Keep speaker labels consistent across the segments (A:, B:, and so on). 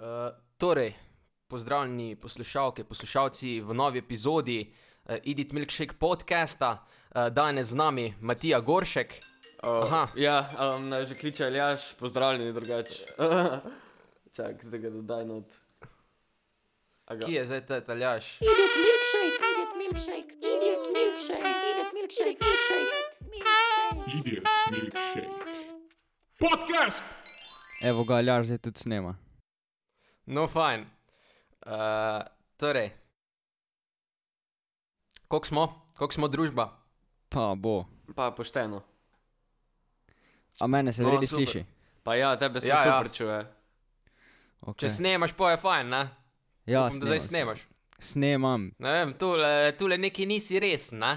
A: Uh, torej, pozdravljeni poslušalke, poslušalci v novi epizodi uh, Edit Milkshake podcasta. Uh, danes z nami Matija Goršek.
B: Uh,
A: Aha.
B: Ja, um, naj že kliče Aljaš, pozdravljeni drugače. Čak, zdaj ga dodaj not. A ga-
A: Kje je zdaj ta taljaš?
C: Idiot milkshake, idiot milkshake, idiot milkshake, idiot milkshake, milkshake, milkshake.
D: Idiot Milkshake. Podcast!
E: Evo ga, Aljaš zdaj tudi snema.
A: No, fajn. Uh, torej, koliko smo, koliko smo družba?
E: Pa bo.
B: Pa pošteno.
E: A mene se
A: No,
E: no, redi
A: super.
E: sliši.
B: Pa ja, tebe se
A: Ja,
B: ja,
A: ja.
B: super ja. čuje.
E: Okay.
A: Če snemaš, pa je fajn, ne?
E: ja,
A: Upam, da zdaj snemaš.
E: Snemam.
A: Ne vem, tule, tule neki nisi resen, ne?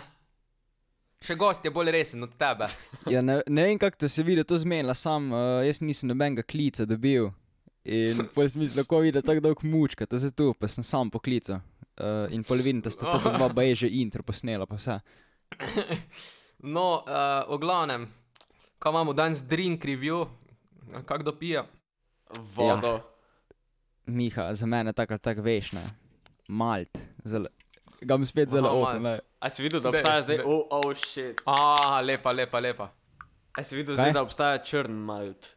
A: Še gost je bolj resen od tebe.
E: Ja, ne, ne vem, kako te se vidi, to zmenila sam. Uh, jaz nisem nobenega klica dobil. In pol smisel, ko vidiš tako dolg mučka, te se tu, pa sem sam poklical. Uh, in pol vidim, da sta ta dva baje že intro posnela, pa vse.
A: No, uh, o glavnem, kaj imamo danes, drink review, kako dopija.
B: Vodo. Ja.
E: Miha, za mene tako ali tako veš, ne. Malt. Zelo. Ga bom spet zelo
A: Aha,
E: open.
A: malt.
E: ne.
B: A si videl, da
A: Daj,
B: obstaja zdaj,
A: daj.
B: oh, oh, shit.
A: Ah, lepa, lepa, lepa.
B: A si videl
E: Kaj?
B: zdaj, da obstaja črn malt.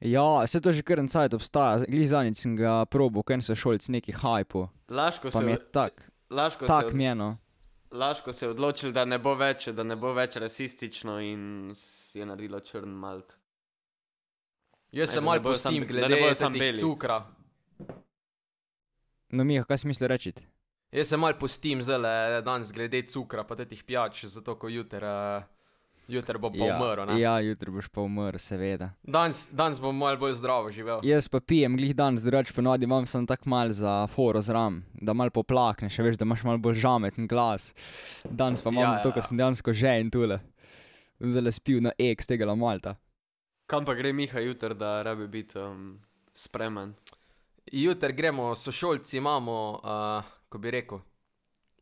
E: Ja, vse to že kar en sajt obstaja. Glej, zadnjič sem ga probo, ker so šolci neki hajpo.
B: Laško
E: Pa
B: se,
E: mi je
B: je...
E: tako.
B: Laško, se
E: Tak
B: od...
E: mi je no.
B: Laško se je odločil, da ne bo več, da ne bo več rasistično in s- je naredilo črn malt.
A: Jaz
B: Aj,
A: sem
B: da
A: malo
B: ne bojo samo
A: postim,
B: be- da ne bojo
A: glede
B: samo
A: teh
B: beli.
A: cukra.
E: No, Miha, kaj si mislil reči?
A: Jaz sem malo postim zele danes glede cukra, pa teh pijač, zato ko jutr, uh, jutr bo pa ja, umrl. ne.
E: ja, jutri boš pa umrl, seveda.
A: Danes, danes bom malo bolj zdravo živel.
B: Ja.
E: Jaz pa pijem, glih danes, drugače ponovadi imam samo tako mal za foro zram, da mal poplakneš, še veš, da imaš mal bolj žameten glas. Danes pa imam
A: Ja,
E: ja,
A: ja,
E: zato, ker
A: ja.
E: sem dejansko že in tule. Zelo spil na eks tega la Malta.
B: Kam pa gre Miha jutr, da rabi biti um, spreman?
A: Jutr gremo, sošolci imamo, uh, ko bi rekel,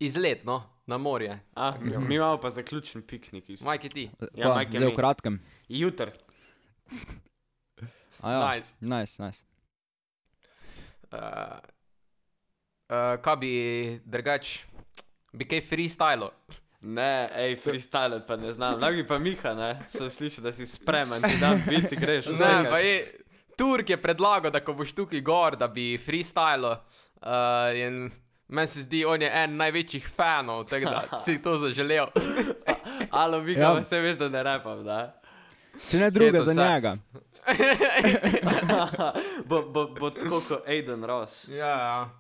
A: izlet no, na morje.
B: Ah,
E: Mhm.
B: mi imamo pa zaključen piknik. isto.
A: Majki ti.
B: Ja,
E: Pa,
B: Mike je
E: Zdaj
B: mi.
E: v kratkem.
B: Jutr.
E: A Ja,
A: Nice.
E: Nice, nice.
A: Uh, uh, kaj bi drugač, bi kaj freestyle.
B: Ne, hej, freestyle pa ne znam. Lahko bi pa Miha, ne, sem slišal, da si spreman, ti dam biti, greš.
A: Ne,
B: vsakaš.
A: pa je. Turk je predlagal, da ko boš tukaj gor, da bi freestyle. Uh, in meni se zdi, on je en največjih fanov, tako da si to zaželel.
B: Alo, Miha,
E: Ja.
B: ja. vse veš, da ne repam, da.
E: Če ne druga
A: Hecam
E: za
A: se.
E: njega.
B: bo, bo, bo tako kot Aiden Ross.
A: ja, ja.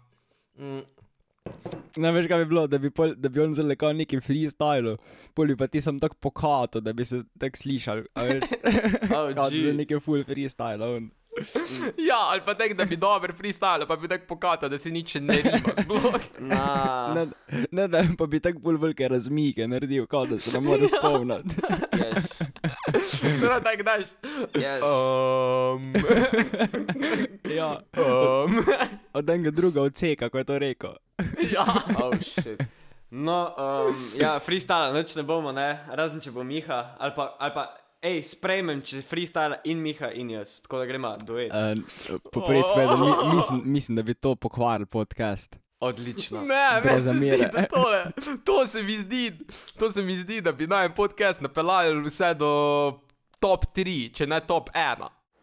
A: Mm,
E: Ne veš, kaj bi bilo, da bi, pol, da bi on zelo lekal neki freestyle, pol bi pa ti sem tako pokato, da bi se tako slišal. a veš.
B: Oh,
E: Kot za
B: gee.
E: neke full freestyle. on.
A: ja, ali pa tako, da bi dober freestyle, pa bi tako pokata, da se nič ne rima. sploh.
B: Na,
E: Ne, ne, da pa bi tako bolj velike razmike naredil, kot da se ne more spomniti.
B: yes,
A: Prav tako daš.
B: yes.
A: Um,
E: ja,
A: um.
E: od enega druga odseka, ko je to rekel.
A: ja.
B: Oh, shit. No, um, ja, freestyle, noč ne bomo, ne, razen če bo Miha, ali pa, ali pa hej, sprejmem, če freestyle in Miha in jaz, tako da gremo duet. Uh.
E: Uh, Poprec,
A: Oh.
E: mi, mislim, mislim, da bi to pokvaril podcast.
B: Odlično.
A: Ne, meni
E: No. Brez
A: se zdi,
E: zamere.
A: da tole, to se mi zdi, to se mi zdi, da bi naj podcast napeljali vse do top 3, če ne top 1.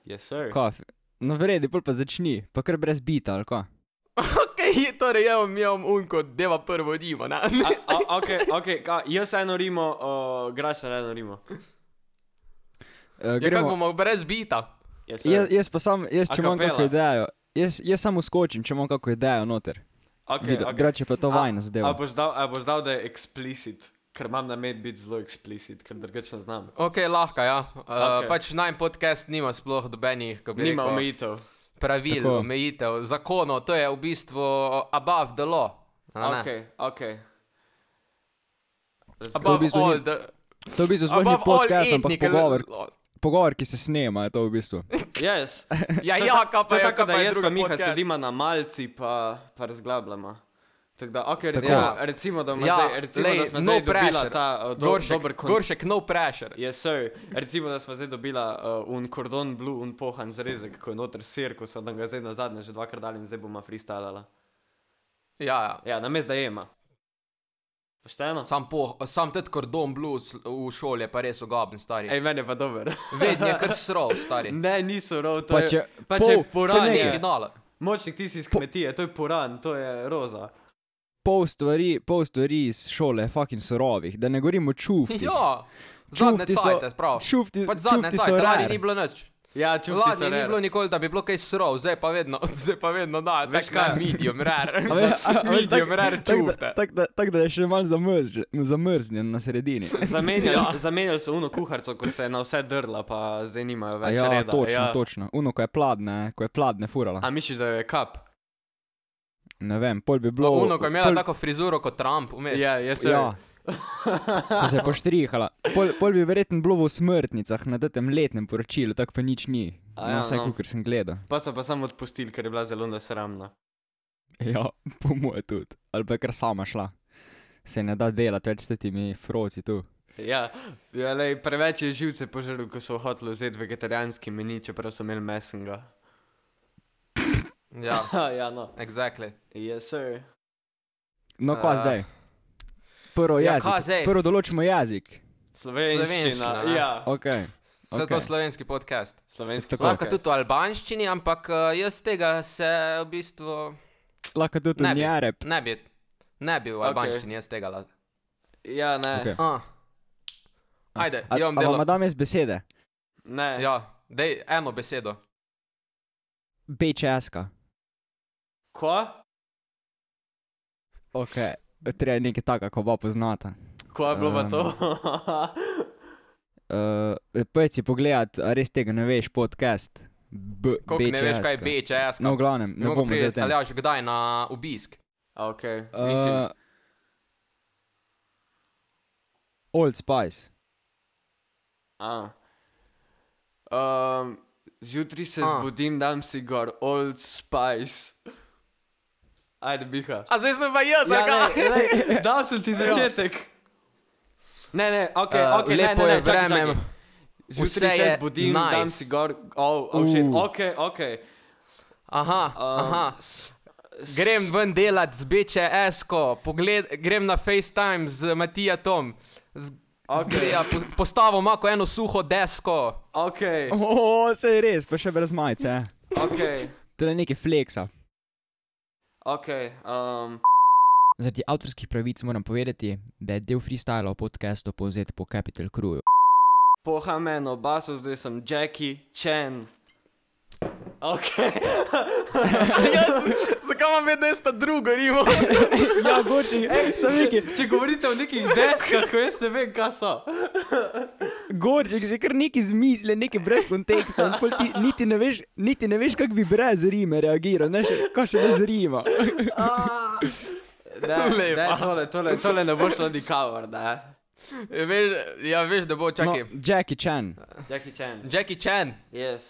B: Yes, sir.
E: Ko, f- no, vredi, pol pa začni, pa kar brez bita, ali ko.
A: Ok, torej je omijam unko, deva prvo rimo, ne?
B: A, a, ok, ok, ka, jaz eno rimo, uh, graš na eno rimo.
E: Uh,
A: Ja, kako bomo brez bita?
B: Yes, sir.
E: jaz, Ja, jaz pa sam, jaz
B: A
E: če imam kakšno
B: capella.
E: idejo, jaz, jaz samo skočim, če imam kakšno idejo noter.
B: okay,
E: Vidim, Drugače pa to vajna
B: A
E: zadeva.
B: boš dal, a boš dal, da je eksplicit, ker imam namen biti zelo eksplicit, ker drugače ne znam.
A: Ok, lahko, ja. Uh, okay.
B: Ok.
A: Pač naj podcast nima sploh dobenih, kako bi
B: Nima
A: rekel,
B: omejitev.
A: pravil,
E: Tako.
A: omejitev, zakonov, to je v bistvu above the law. a ne?
B: Ok, ok.
E: To v
A: Above
E: bistvu ni-
A: all the...
E: To je v bistvu zelo
A: Above
E: ni
A: all
E: podcast, ampak
A: ethnical-
E: pogovor, pogovor, ki se snema, je to v bistvu.
B: Yes.
A: Ja,
B: To je
A: ja,
B: ta-
A: kaj
B: to
A: pa
B: je
A: je,
B: tako,
A: kaj
B: da
A: pa je
B: jaz
A: druga
B: pa Miha
A: podcast.
B: sedima na malci, pa, pa razglabljamo. Tako da, okay, recimo,
E: Tako.
B: ja. recimo, da, ja, zdaj, recimo,
A: lej,
B: da smo no zdaj dobila
A: pressure.
B: ta uh, do,
A: goršek,
B: dober kon-
A: goršek, no pressure.
B: Yes, sir. Recimo, da smo zdaj dobila uh, un kordon blue, un pohan zrezek, ko je noter sir, ko so nam ga zdaj na zadnje že dvakrat dali in zdaj bomo freestylala.
A: Ja, ja.
B: Ja, na mest da jema. Pošteno?
A: Sam, po, sam ted kordon blues v šoli je pa res ogaben, stari.
B: Ej, meni je pa dober.
A: Vedno je kar srov, stari. no-
B: ne, niso rov, to
E: Pa
B: je,
E: če-
B: pa če
E: pol,
B: je
E: saj
B: poran,
E: nekaj.
B: je,
A: Originala.
B: močnik ti si iz kmetije, to je poran, to je roza.
E: Pol stvari, pol stvari iz šole je fucking surovih, da ne govorimo čufti.
A: Ja, zadnje
E: Čufti so-
A: cajte, prav.
E: čufti-
A: pač zadnje
E: čufti
A: cajte,
E: so
A: lani
E: rar.
A: ni bilo nič.
B: Ja, če
A: Lani ni bilo nikoli, da bi bilo kaj srov, zdaj pa vedno, zdaj pa vedno, da,
B: Veš
A: veš kaj,
B: kaj?
A: medium rare.
E: A ve- a- a veš,
A: medium
E: tak-
A: rare
E: tak da-
A: čufte.
E: Tako da, tak da je še malo zamrznjen, zamrznjen na sredini.
B: Zamenjali,
A: Ja.
B: ja. zamenjali so uno kuharco, ko se je na vse drla, pa zdaj nimajo
E: A
B: več
E: Ja,
B: reda.
E: točno,
B: ja.
E: točno. Uno, ko je pladne, ko je pladne furala.
B: A misliš, da je kap?
E: Ne vem, pol bi bilo.
A: Uno, ko je imela
E: pol-
A: tako frizuro kot Trump, vmes.
B: Ja, jaz sem.
E: no, Ja. Ko se je poštrihala. Pol, pol bi verjetno bilo v smrtnicah na tem letnem poročilu, tako pa nič ni.
B: A
E: Ja,
B: ja,
E: no, vsaj,
B: no.
E: no. kar sem gledal.
B: Pa so pa samo odpustili, ker je bila zelo nesramna.
E: Ja, po moje tudi. Ali pa je kar sama šla. Se ne da delati več s temi froci tu.
B: Ja, ja lej, preveč je živce požrl, ko so hoteli vzeti vegetarijanski meni, čeprav so imeli mesenga.
A: Ja,
B: Ha, ja, no.
A: exactly.
B: Yes, sir.
E: No, kva
A: Eh.
E: zdaj? Prvo
A: Ja,
E: jezik.
A: kva zdaj?
E: Prvo določimo jezik.
B: Slovenščina.
A: Slovenščina, ne?
B: ja.
E: Okay.
A: Vse to
E: Okej.
A: slovenski podcast.
B: Slovenski
E: Tako.
A: Lahko tudi v albanščini, ampak eh, jaz tega se v bistvu
E: Lahko tudi
A: Ne bi.
E: unjarep.
A: ne bi, ne bi v
B: Okej.
A: albanščini jaz tega lahko.
B: Ja, ne.
E: Okej.
B: Okay.
A: Ah. Ajde,
E: A,
A: imam
E: a vam
A: delo.
E: dam jaz besede?
B: ne. Ja.
A: Ja, dej eno besedo.
E: BČS-ka.
B: Ko?
E: Ok, treba je nekaj takega, ko oba poznata.
B: Ko je bilo pa to?
E: Uh, Pojdi si pogledat, a res tega ne veš, podcast. B,
A: Kako ne veš, kaj je
E: BČS-ka.
A: BČS?
E: No, v glavnem, ne bomo zdaj o tem.
A: Ali ja, že kdaj na obisk?
B: ok, mislim.
E: Uh, Old Spice.
B: A. Um, zjutraj se
A: A.
B: zbudim, dam si gor Old Spice. Ajde, biha.
A: A zdaj sem pa jaz,
B: Ja,
A: ali
B: ne, ne, dal sem ti začetek. Ne, ne, ok,
A: Eh,
B: ok, ne,
A: lepo
B: ne, ne,
A: je
B: čakaj, čakaj.
A: vreme. Vse
B: Zjutraj se
A: je
B: zbudim, nice. dam
A: nice.
B: si gor, oh, oh shit,
E: Uh.
B: ok, ok.
A: Aha, aha. Grem ven delat z BČS-ko, pogled, grem na FaceTime z Matijatom. Z,
B: Ok.
A: okay. ja, po, postavo ima ko eno suho desko.
B: Ok,
E: O, oh, se je res, pa še brez majice. eh.
B: ok,
E: To je Torej nekaj fleksa.
B: ok, um,
E: Zaradi avtorskih pravic moram povedati, da je del freestyla v podkastu povzet po Capital Crew.
B: poha meno baso, zdaj sem Jackie Chan. Ok,
A: Zakaj imam vedno ista drugo rimo?
E: Ja, Goči, sem
B: če, če govorite o nekih deskah, ko jaz ne vem, kaj so.
E: Gorček si kar nekaj izmislil, nekaj brez konteksta, in pol ti niti ne veš, niti ne veš kako bi brez rime reagiral, ne še kaj še brez rima.
B: Ne, ne,
A: Lepa.
B: tole, tole, tole ne bo šlo nikamor, ne.
A: veš, ja, veš, da bo
E: No,
A: čakaj. No.
E: Jackie Chan,
B: Jackie Chan,
A: Jackie Chan,
B: yes.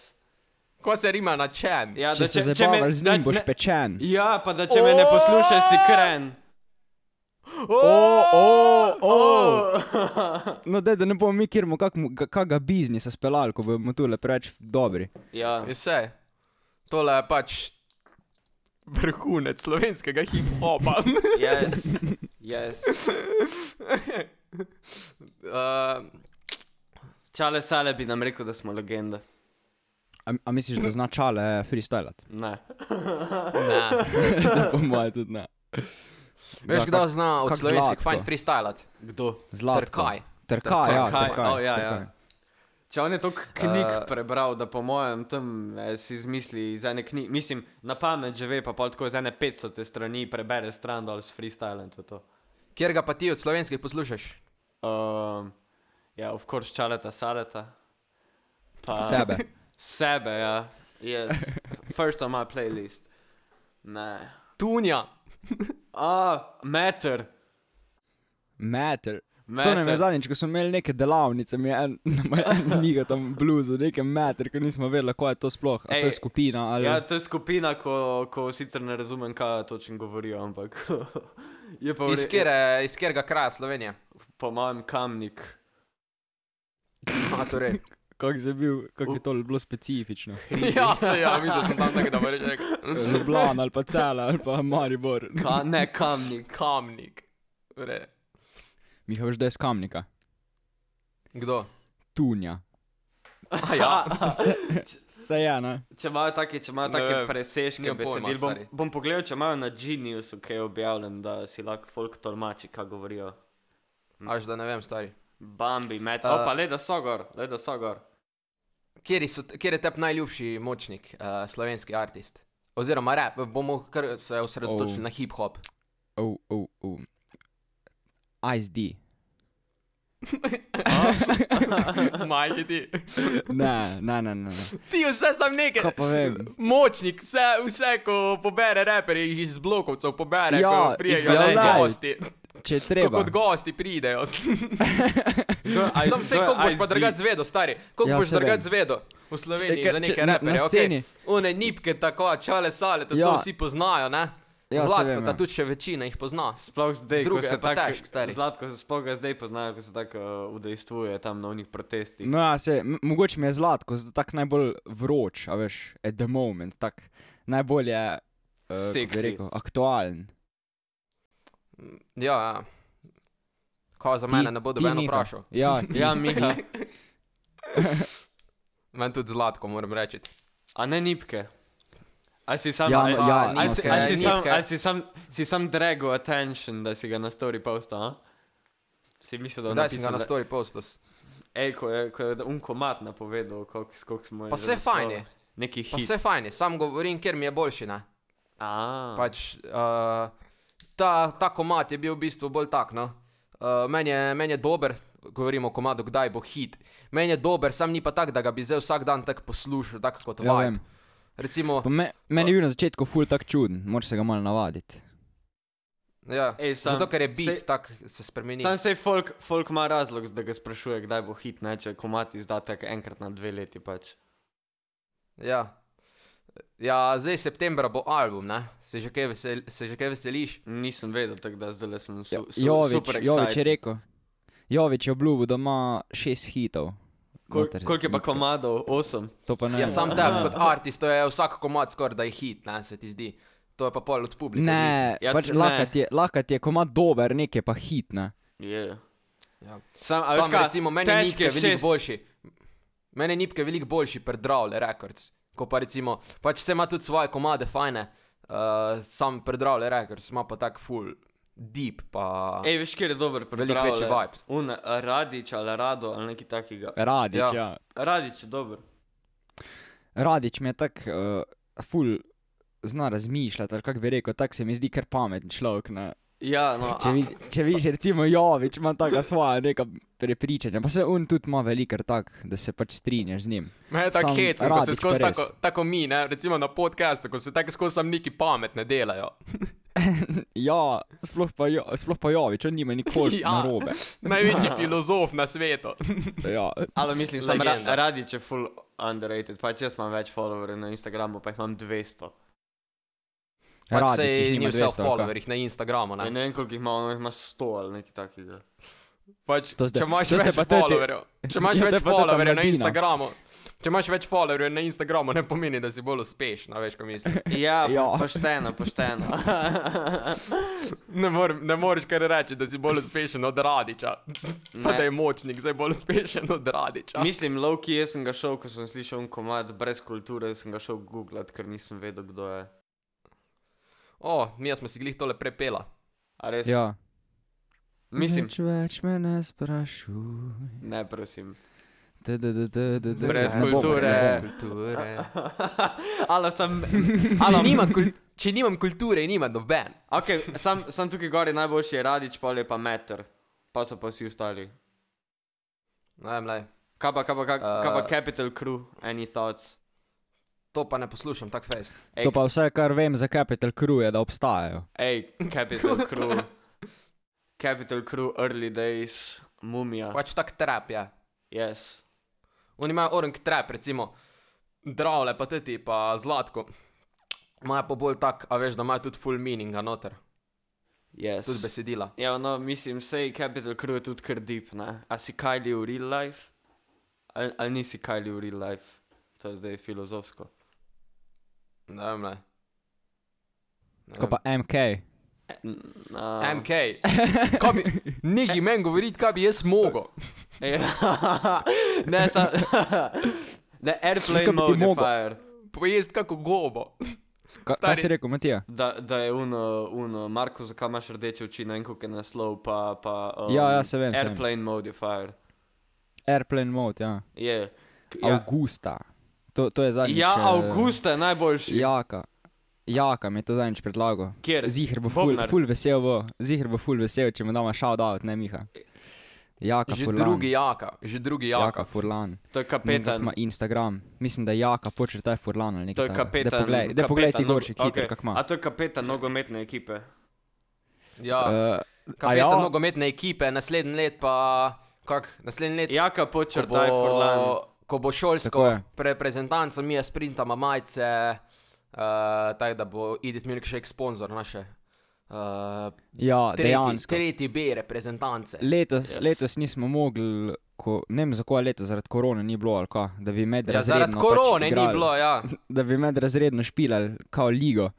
A: ko se rima na Chan?
B: Ja,
E: če
B: da
E: se
B: me-
E: zabavaš z
B: da
E: njim, boš
B: ne-
E: pečen.
B: Ja, pa da če me ne poslušaš, si kren.
E: O, o, o. No, daj, da ne bomo mi, kjer bomo kakega biznisa speljali, ko bomo tu le preveč dobri.
B: Ja,
A: Vse. Tole je pač vrhunec slovenskega hip-hopa.
B: yes, yes.
A: uh,
B: Čale sale bi nam rekel, da smo legende.
E: A, a misliš, da zna čale eh, freestylat?
B: Ne.
A: ne.
E: Zdaj po moje tudi ne.
A: Veš,
E: Ja,
A: kdo
E: kak-
A: zna od
E: kak
A: slovenskih
E: Zlatko.
A: fajn freestylat?
B: Kdo?
E: Zlatko.
A: Trkaj.
E: Trkaj, ja,
B: Trkaj,
E: trkaj.
B: o, ja, ja.
E: Trkaj.
B: Če on je toliko knjig
A: Eh.
B: uh, prebral, da po mojem tam eh, si izmisli iz ene knjige, mislim, na pamet že ve, pa pol tako iz ene 500 te strani prebere stran dol s freestylem, to je to.
A: Kjer ga pa ti od slovenskih poslušaš?
B: Um, ja, of course, čaleta saleta. Pa
E: Sebe.
B: Sebe, ja. Yes. First on my playlist. Ne.
A: Tunja.
B: A, meter.
E: Matter. To nam je zadnjič, ko smo imeli neke delavnice, mi je en, nam je en zmiga tam bluzu, neke meter, ker nismo vedeli, kaj je to sploh. A to je
B: Ej,
E: skupina ali...
B: Ja, to je skupina, ko, ko sicer ne razumem, kaj točno govorijo, ampak je pa v
A: Iz
B: re-
A: kjere- iz katerega kraja Slovenije?
B: Po mojem kamnik.
A: A, torej.
E: Kako je bil, kako je to bilo specifično.
A: ja, se, ja, mislim, da sem tam tako dobro rekel. "Mm,
E: Ljubljana ali pa Cela ali pa Maribor.
B: Ka, ne, kamnik.
A: Kamnik. Torej, V redu.
E: Miha, veš, da je iz Kamnika.
A: Kdo?
E: Tunja.
A: A, ja.
E: Se, se je, ne?
B: Če imajo take, če imajo
A: Ne
B: take
A: vem,
B: preseške
A: nimam pojma,
B: besedil, bom,
A: stari.
B: bom pogledal, če imajo na Geniusu kaj objavljen, da si lahko folk tolmači, kaj govorijo.
A: Až da ne vem, stari.
B: Bambi, met.
A: A-
B: Opa, le da so gor, le da so gor.
A: Kjer, so, kjer je tep najljubši močnik, uh, slovenski artist? Oziroma, rap, bomo kar se osredotočili
E: Oh.
A: oh. na hip-hop.
E: Oh, oh, oh. Ice D.
A: Majki ti.
E: Ne, ne, ne, ne. ne.
A: Ti vse sam nekaj.
E: Kaj pa vem?
A: Močnik, vse, vse ko pobere reperje, jih iz blokovcev pobere,
E: Ja,
A: ko prijejo
E: izvajalec.
A: na gosti.
E: Če je
A: Ko
E: treba.
A: kot gosti pridejo.
B: aj-
A: Sam se,
B: kdo je
A: koliko boš pa
B: ISD?
A: drugače zvedel, stari. Koliko
E: Ja,
A: boš
E: saj vem.
A: drugače zvedel v Sloveniji
E: Če-
A: za
E: če-
A: neke
E: na-
A: reperje.
E: na
A: Okay.
E: sceni.
A: One nipke tako, čale sale, to, ja.
E: Ja.
A: to vsi poznajo, ne?
E: Ja,
A: Ja,
E: saj
A: Zlatko,
E: vem,
A: ta
E: ja.
A: tudi še večina jih pozna.
B: Sploh zdaj, ko
A: Druga
B: se
A: je ja, pa
B: tako
A: težk, stari.
B: Zlatko se sploh ga zdaj poznajo, ko se tako uh, udejstvuje tam na onih protestih.
E: No, ja, se, m- mogoče mi je zlatko, zato tak najbolj vroč, a veš, at the moment, tak najbolj je, eh, kako bi
B: Seksi.
E: rekel, aktualen.
A: Ja, ja. Ko za
E: Ti-
A: mene ne bo
E: ti,
A: noben
E: Miha.
A: vprašal.
E: Ja, ti.
B: Ja, Miha.
A: Meni tudi zlatko, moram reči.
B: A ne nipke. Ali si sam,
E: Ja,
B: ali,
E: no,
B: ali,
E: ja,
A: ali-
E: no,
A: ali-
E: saj.
A: ali-
B: si,
A: nipke.
B: sam, ali si, sam, si sam drago attention, da si ga na story posta, a? Si mislil, da je
A: Daj si ga
B: napisal,
A: na
B: da-
A: story postos.
B: Ej, ko je, ko je unkomat napovedal, koliko kolik smo
A: Pa saj fajn je.
B: Neki
A: Pa
B: hit.
A: vse fajn, je, sam govorim, ker mi je boljši, ne?
B: A,
A: Pač, uh, ta, ta komat je bil v bistvu bolj tak. No? Uh, meni, je, meni je dober, govorimo o komadu, kdaj bo hit. Meni je dober, sam ni pa tak, da ga bi zdaj vsak dan tako poslušal, tako kot
E: Ja,
A: vajem.
E: vem.
A: Recimo,
E: Pa me, meni je bil na začetku ful tak čuden, moraš se ga malo navaditi.
A: ja,
B: Ej, sam-
A: zato ker je beat,
B: saj-
A: tako se spremeni.
B: Sam se folk, folk ima razlog, da ga sprašuje, kdaj bo hit, ne, če komat izda tako enkrat na dve leti pač.
A: Ja. ja, zdaj septembra bo album, ne? se že kaj, vesel, se že kaj veseliš.
B: Nisem vedel, tako da zdaj sem su, Ja, su,
E: Jovič,
B: super
E: Jovič je
B: excited.
E: rekel, Jovič je obljubil, da ima šest hitov.
B: Kol,
E: noter.
B: koliko je pa komadov? Osem.
E: To pa ne
A: Ja,
E: vem.
A: sam tebi kot artist, to je vsak komad skoraj da je hit, ne se ti zdi. To je pa pol od publike. odvisno.
E: Ne,
B: Ja,
E: pač
B: ne.
E: lakat je, lakat je, ko ima dober, nekaj pa hitne.
B: Yeah.
A: Ja.
B: Sam, a veš
A: Sam,
B: kaj,
A: recimo, meni je
B: težke
A: nipke veliko
B: šest-
A: boljši. Meni je nipke veliko boljši pred Drawle Records. Ko pa recimo, pač se ima tudi svoje komade fajne, uh, sam pred Drawle Records ima pa tak full deep, pa
B: Ej, veš, kjer je dober
A: Veliko
B: pripravljen.
A: večji vibes.
B: Un eh, Radič ali Rado ali nekaj takega.
E: Radič,
A: Ja.
E: ja. ja.
B: Radič je dober.
E: Radič mi je tak, uh, ful zna razmišljati, ali kako bi rekel, tak se mi zdi kar pameten človek. Ne?
B: Ja, no,
E: Če,
B: a-
E: vi, če viš, recimo Jovič ima taka svoja neka prepričanja, pa se on tudi ima velikar tak, da se pač strinjaš z njim.
A: Me je tako
E: Sam
A: hecno, ko se
E: Radić
A: skozi
E: pa res.
A: tako, tako mi, ne, recimo na podkastu, ko se tako skozi sam neki pametne delajo.
E: Ja, sploh pa, jo, sploh pa Jovič, on nima nikoli
A: Ja.
E: ja. narobe.
A: Največji filozof na svetu.
E: Ja.
B: ali mislim, sam ra
A: Legenda.
B: Radič je full underrated. Pač jaz imam več followerjev na Instagramu, pa jih imam 200.
A: Pač
E: Radić
A: se
E: jih
A: je
E: nima
A: ni vse v
E: 200 ali kaj?
A: followerjih na Instagramu,
B: Ne,
A: ne.
B: ne vem, koliko jih ima, on jih ima 100 ali nekaj takega.
A: Pač,
E: To ste-
A: če imaš
E: to ste
A: več
E: pa te- te-
A: followerjev, če imaš
E: Ja, to je
A: več
E: pa tota
A: followerjev na
E: mladina.
A: Instagramu, če imaš več followerjev na Instagramu, ne pomeni, da si bolj uspešna, veš, ko mislim.
B: Ja,
E: Ja.
B: po, pošteno, pošteno.
A: Ne, mor, ne moreš kar reči, da si bolj uspešen od Radiča. Pa
B: Ne.
A: da je močnik zdaj bolj uspešen od Radiča.
B: mislim, Loki, jaz sem ga šel, ko sem slišal un komad brez kulture, sem ga šel googlat, ker nisem vedel, kdo je.
A: O, mi smo si glih tole prepela.
B: A res?
E: Ja.
B: Mislim,
E: Nič več me ne sprašuj.
B: ne, prosim.
E: tdddd,
B: Brez
E: ne bomo, ne
B: kulture.
E: bomo.
A: kulture.
B: Ali sem
A: Če, nima kul če nimam kulture, nima noben.
B: Okay, sam, sam tukaj gor je najboljši je radič, pol je pa meter, pa so pa vsi ostali.
A: Ne vem, lej,
B: Kaj pa, kaj pa, kaj, uh, kaj pa
A: Eh.
B: Capital Crew, any thoughts?
A: to pa ne poslušam tako fest.
B: Ej,
E: To pa vse, kar vem za Capital Crew je, da obstajajo.
B: ej Capital Crew. Capital Crew, Early Days, Mumija.
A: Pač tak trap, ja.
B: Yes.
A: Oni imajo orang trap, recimo, dravle, pa teti, pa zlatko. Imajo pa bolj tak, a veš, da imajo tudi full meaninga noter,
B: Yes.
A: tudi besedila.
B: Ja, no, mislim, sej Capital Crew je tudi kar deep, ne? A si Kylie v real life? Ali, ali nisi Kylie v real life? To je zdaj filozofsko.
A: Ne vem, ne. Ne
E: Ko
A: vem.
E: pa MK.
B: A,
A: MK. Kaj bi, neki meni govoriti, kaj bi jaz mogel.
B: Ja. ne, sam... ne,
E: Kaj bi ti
B: airplane
E: mogel?
B: modifier.
A: Pojesti kako gobo.
E: Ka, kaj
A: Stari-
E: si rekel, Matija?
B: Da, da je uno, uno, Marko, zakaj imaš rdeče oči, ne vem, kako je naslov, pa... pa um,
E: Ja, ja, se vem, se vem.
B: Airplane modifier.
E: Airplane mode, ja.
B: Je.
E: ja.
B: Ja,
E: Augusta. To, to je zadnji.
B: ja Augusta je najboljši.
E: Jaka. Jaka mi je to zadnjič predlagal.
B: Kjer?
E: Zihr bo ful,
B: Bobnar.
E: ful vesel, bo. Zihr bo ful vesel, če mu damo shout out, ne Miha. Jaka
A: Že
E: Furlan.
A: drugi jaka, že drugi
E: Jaka
A: jaka.
E: Furlan.
B: To je
E: Ne vem, kako
B: kapetan.
E: Ima Instagram. Mislim, da Jaka počrtaj Furlan ali
B: To
E: nekaj.
B: je
E: takega.
B: kapetan.
E: Daj poglej, daj
B: kapetan
E: poglej ti
B: nogo-
E: gorček, hitro,
B: okej.
E: kak ima.
B: A to je kapetan nogometne ekipe.
A: Ja,
E: Uh,
A: kapetan nogometne ekipe, naslednji let pa, kak, naslednji let
B: Jaka
A: ko
B: počrtaj bo... Furlan.
A: bo, ko bo
E: Tako
A: šolsko
E: je.
A: reprezentanco, mi je sprintama majice, uh, tako da bo Edith Milkshake sponzor naše. Uh,
E: Ja,
A: tretji,
E: dejansko.
A: tretji B reprezentance.
E: Letos,
B: Yes.
E: yes. letos nismo mogli, ko, ne vem zakaj letos, zaradi korone ni bilo ali kaj, da bi med
A: Ja,
E: razredno.
A: zaradi
E: pač
A: korone
E: igrali,
A: ni bilo, ja.
E: Da bi med razredno špilali kao ligo.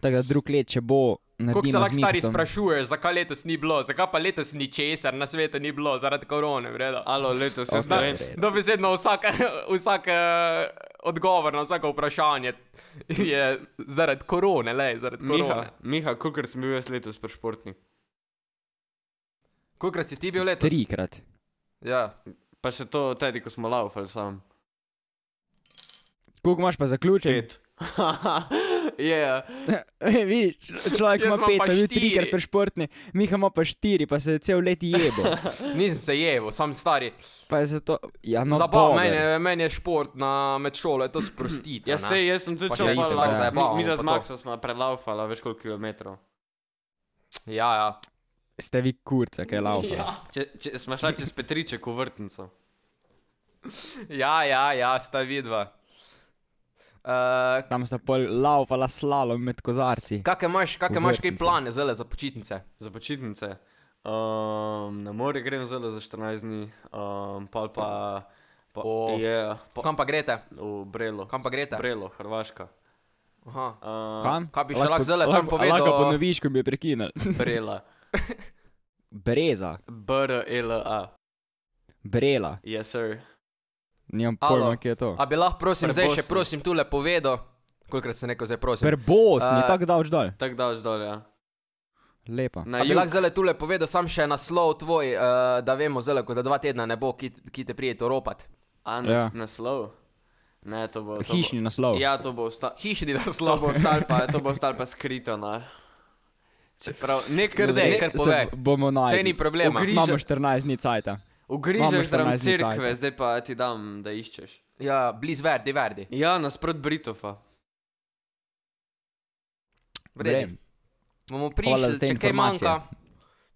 E: Tako da drug let, če bo.
A: Kako se
E: naredimo
A: lahko
E: z
A: stari
E: Mihitom-
A: sprašuješ, zakaj letos ni bilo, zakaj pa letos ni česar na svetu ni bilo zaradi korone, vreda.
B: Alo, letos se
E: Okej.
B: zdaj.
E: Red.
A: Dobesedno vsak, vsak eh, odgovor na vsako vprašanje je zaradi korone, le zaradi
B: Miha,
A: korone.
B: Miha, kolikor sem bil jaz letos pri športni?
A: Kolikrat si ti bil letos?
E: Trikrat.
A: Ja.
B: Pa še to tedi, ko smo laufali sam.
E: Koliko imaš pa zaključen?
B: Pet. yeah.
A: Ja.
E: Vidiš, človek
A: Jaz
E: ima
A: imam
E: pet,
A: pa
E: ali
A: štiri.
E: trikrat pri športni, Miha ima pa štiri, pa se je cel let jebo.
A: Nisem se jeval, sam stari.
E: Pa je zato, ja, no,
A: No, Zabav,
E: dober.
A: meni, je- meni je šport na, med šolo, je to sprostiti.
B: Ja, sej, jaz sem tudi
A: Pa
B: šel
A: še
B: malo
A: itak
B: laufat.
A: zajebavam,
B: Mi, mi
A: pa
B: da z
A: to.
B: Maxom smo prelaufali, veš koliko kilometrov.
A: ja, ja.
E: Ste vi kurca, kaj laupa. Ja.
B: Če, če smo šli čez Petriček v vrtnico.
A: ja, ja, ja, sta vidva. Uh,
E: Tam sta pol laupala slalom med kozarci.
A: Kakšne imaš, kakšne imaš kaj
E: Uvrtnice.
A: plane zdaj za počitnice?
B: Za počitnice. Um, na morje grem zelo za 14 dni, um, pol pa, pa
A: O.
B: je pa,
A: Kam pa greste?
B: v Brelo.
A: Kam pa greste?
B: Brelo, Hrvaška.
A: Aha.
B: Um,
E: Kam?
A: Kaj bi še lahko zdajle sam povedal?
E: Lahko ponoviš, ko bi jo prekinil.
B: Brela.
E: Breza,
B: B-R-E-L-A.
E: brela,
B: Yes, sir.
E: nimam
A: Alo.
E: pojma, kje je to.
A: A bi lahko, prosim, zdaj še
B: Prebosni.
A: prosim tule povedal, kolikrat sem rekel, zdaj prosim.
E: Prbos, ni
A: Eh,
E: tako davč dol.
B: Tako daš dol, ja.
E: Lepa.
B: Na
A: A bi
B: jug.
A: lahko zdaj tule povedal, sam še naslov tvoj, uh, da vemo zdaj, ko da dva tedna ne bo, ki, ki te prijete ropat.
B: A,
E: Ja.
B: nas, ja. naslov? Ne, to bo. to bo-
E: Hišni naslov.
B: Ja, to bo ostalo.
A: Hišni
B: To bo
A: naslov.
B: ostalo pa, to bo ostalo pa skrito, ne. Čeprav, nek
A: Kar dej, kar
E: Se
A: povej.
E: Bomo
A: Saj ni
E: najdli.
A: problema.
B: Ogri-
E: Imamo 14 dni cajta. Imamo
B: Ugrižeš zraven
E: 14 cajtov.
B: cerkve, zdaj pa ti dam, da iščeš.
A: Ja, bliz verdi, verdi.
B: Ja, nasprot Britofa.
A: Vredi. Bomo
E: Hvala
A: prišli,
E: za te
A: če kaj
E: informacije.
A: manjka.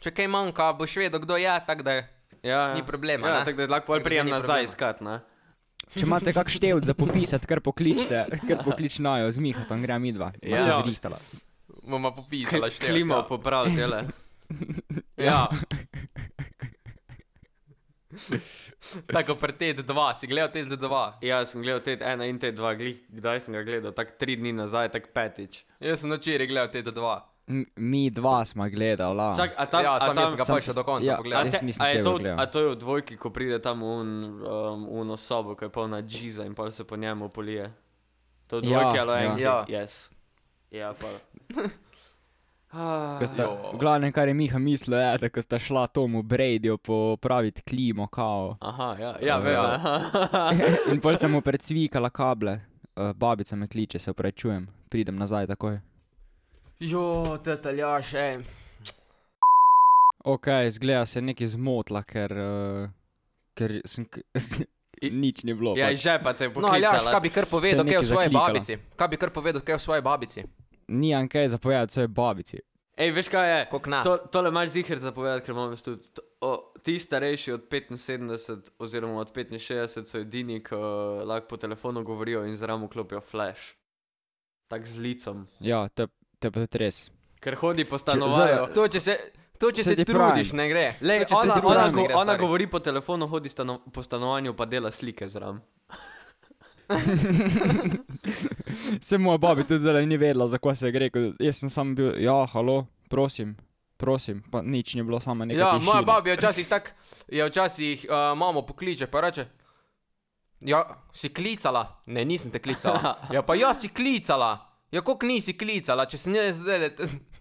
A: Če kaj manjka, boš vedel, kdo je, tako da je.
B: Ja, ja.
A: Ni problema,
B: Ja,
A: ne?
B: tako da lahko pol
A: Tako da
B: prijem
A: ni
B: nazaj
A: problema.
B: iskat, ne.
E: Bre. Če imate kak števc za popisati, kar pokličite, kar poklič najo z Miha, tam gremo midva.
B: Ja.
E: Ja, zrihtala.
A: Bomo popisali števce.
B: Klimo popraviti, jele.
A: Ja. Tako pri TED2, si gledal TED2.
B: Ja, sem gledal te ena in te dva, glih, kdaj sem ga gledal, tako tri dni nazaj, tako petič.
A: Jaz sem včeraj gledal TED2.
E: M- Mi dva sma gledala.
B: Čak, a tam,
A: Ja,
B: a
A: sam
B: tam,
A: jaz sem ga
E: sam
A: pač
E: sem-
A: do konca
E: ja,
A: pogledal.
E: jaz
B: te-
E: nisem
B: a je
E: celega
B: to,
E: gledal.
B: a to je v dvojki, ko pride tam un, um, uno sobo, ko je polna džiza in pa se po njemu polije. To je
E: Ja,
B: dvojki ali
E: ja.
B: enki.
A: Ja.
B: Yes. ja pa.
A: Ah,
E: Ko sta-
A: jo.
E: V glavnem, kar je Miha mislil, je, da ko sta šla tomu Bradyju popraviti klimo, kao.
B: Aha, ja, ja,
E: Ja.
B: vem. aha.
E: In pol sta mu precvikala kable. Uh, babica me kliče, se opravičujem, pridem nazaj takoj.
A: Jo, te taljaš, ej. No,
E: Ok, zgleda se je nekaj zmotila, ker, uh, ker sem. k- nič ni bilo.
B: Ja,
E: pač.
B: iz žepa te je
A: No, Aljaš, kaj
B: poklicala.
A: bi kar povedal,
E: Se
A: kaj
E: je
A: je v
E: nekaj
A: svoji
E: zaklikala.
A: babici? Kaj bi kar povedal, kaj je v svoji babici?
E: Ni ankej zapovedati svoje babici.
B: Ej, veš kaj je?
A: Kako
E: Ja.
A: na?
B: To, tole imaš zihar zapovedati, ker imam tudi. To, o, ti starejši od 75 oziroma od 65 so edini, ki lahko po telefonu govorijo in zraven vklopijo flash. Tak z licem.
E: Ja, te, te pa tudi res.
B: Ker hodi po stanovanju.
A: To, če se, to, če
E: Se
A: se, se
E: ti
A: trudiš,
E: pravim.
A: ne gre.
B: Lej,
A: to, če
B: ona,
A: se trudiš,
B: ona,
A: ne
B: go,
A: gre,
B: ona
A: stari.
B: govori po telefonu, hodi stano, po stanovanju pa dela slike zraven.
E: Se moja babi tudi zdaj ni vedela, za kaj se gre. ko Jaz sem sam bil, ja, halo, prosim, prosim, pa nič ni bilo, samo nekaj.
A: Ja,
E: tišine.
A: moja baba je včasih tak, je včasih uh, mamo pokliče, pa reče. Ja, si klicala? Ne, nisem te klicala. Ja, pa ja, si klicala. Ja, kako nisi klicala, če se ne zdaj le.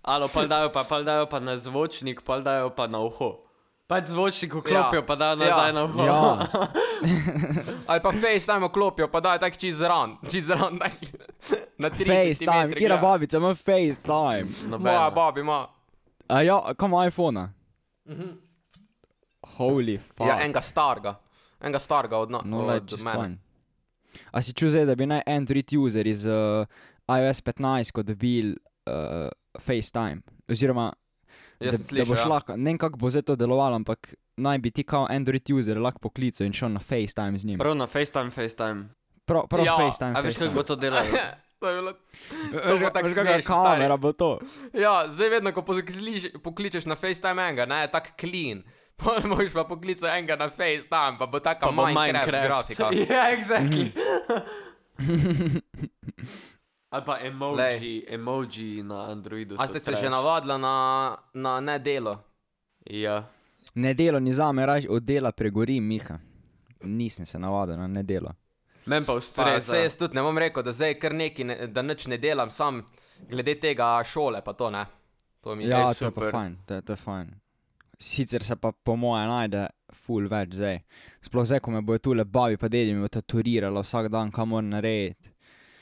B: Alo, pa dajo pa, pa dajo pa na zvočnik, pa dajo pa na uho. Pač zvočnik vklopijo,
A: Ja.
B: ja. pa dajo
A: Ja.
B: nazaj ja. na uho.
E: Ja,
A: Ali pa FaceTime oklopijo, pa daj tak čez ran, čez ran, tak. Na 30
E: FaceTime,
A: centimetrih,
E: kira
A: ja.
E: babica ima FaceTime.
A: Moja baba ima.
E: A ja, kam ima iPhone? Holy fuck.
A: Mhm. Ja, enega starega. Enega starega od, na,
E: No, le,
A: od
E: just
A: mene.
E: fine. A si čuzel, da bi naj Android user iz uh, iOS 15 ko dobil uh, FaceTime? Oziroma,
A: Jaz
E: da,
A: sem
E: da boš
A: slišal, ja.
E: lahko, ne vem kako bo zdaj to delovalo, ampak naj bi ti kao Android user lahko poklical in šel na FaceTime z njim.
B: Prav na FaceTime, FaceTime.
E: Prav, prav
A: Ja,
E: FaceTime.
B: A veš, kako
E: FaceTime.
B: bo to delalo?
A: To je bilo.
E: Veš,
A: bo
E: ka-
A: tako
E: veš, kakšna
A: smešno, stari.
E: kamera bo to.
A: Ja, zdaj vedno, ko pozakliš- pokličeš na FaceTime enega, ne, je tak clean. Potem boš pa poklical enega na FaceTime, pa bo taka
B: Pa bo
A: Minecraft, Minecraft grafika.
B: ja, exactly. Ali pa emoji,
A: Lej.
B: Lej. emoji na Androidu.
A: A
B: so
A: ste se
B: trash.
A: že navadila na, na nedelo?
B: Ja.
E: Nedelo ni zame, raje od dela pregori, Miha. Nisem se navadil no, na nedelo.
B: Men pa
A: Pa,
B: ustreza.
A: se jaz tudi ne bom rekel, da zdaj kar neki, ne, da nič ne delam, sam glede tega šole, pa to ne. To mi je
E: Ja,
A: zdaj
E: to je pa
B: super.
E: fajn, to, je- to je fajn. Sicer se pa po moje najde ful več zdaj. Sploh zdaj, ko me bojo tule babi pa dedi mi tatuirala vsak dan, kam moram narediti.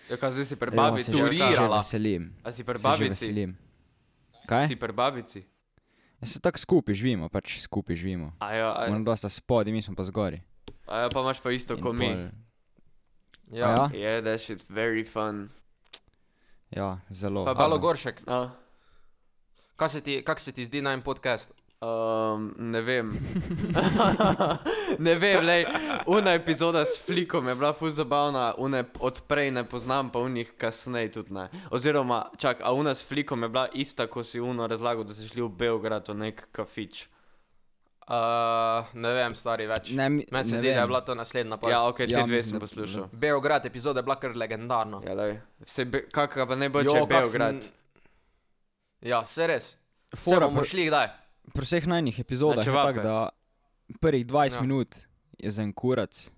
B: Ja, kaj zdaj si pri
E: Ja, se
B: babici?
E: že- se že
A: turirala.
E: Veselim.
B: A si pri
E: Se že
B: babici?
E: veselim. Kaj?
B: Si pri babici?
E: Ja, Se tako skupaj živimo, pač skupaj živimo.
B: A ja, a,
E: Moram dosta spodaj, mi smo pa zgori.
B: a ja, pa imaš pa isto
E: In
B: kot mi.
E: pol-
A: Ja.
E: Ja.
A: ja.
B: Yeah, that shit's very fun.
E: Ja, zelo.
B: Pa
A: Halo
E: Amen.
A: Goršek,
B: Ah.
A: kaj se ti, kak se ti zdi najmanj podcast?
B: Um, ne vem. ne vem, le ena epizoda s flikom je bila fuz zabavna, une odprej ne poznam, pa unih kasneje tudi ne. Oziroma, čak, a una s flikom je bila ista, ko si uno razlagal, da si šli v Beograd v nek kafič.
A: Uh, ne vem, stari več.
E: Ne, mi-
A: Meni se
E: ne
A: zdi, da je
E: vem.
A: bila to naslednja pa.
B: Ja, ok, ti
E: Ja,
B: ja, dve
E: mislim,
B: sem
E: da-
B: poslušal.
A: Beograd epizoda je bila kar legendarna.
B: Ja, lej. Vse, be, kakšna pa ne bo, če
A: Jo,
B: Pač je
A: kak sem-
B: Beograd.
A: Ja, se res. Vse
E: Fora
A: bomo
E: pri-
A: šli kdaj.
E: Pri vseh najnih epizodah
B: Na
E: je
B: čevape.
E: tako, da prvih 20
A: Ja.
E: ja. minut je za en kurac,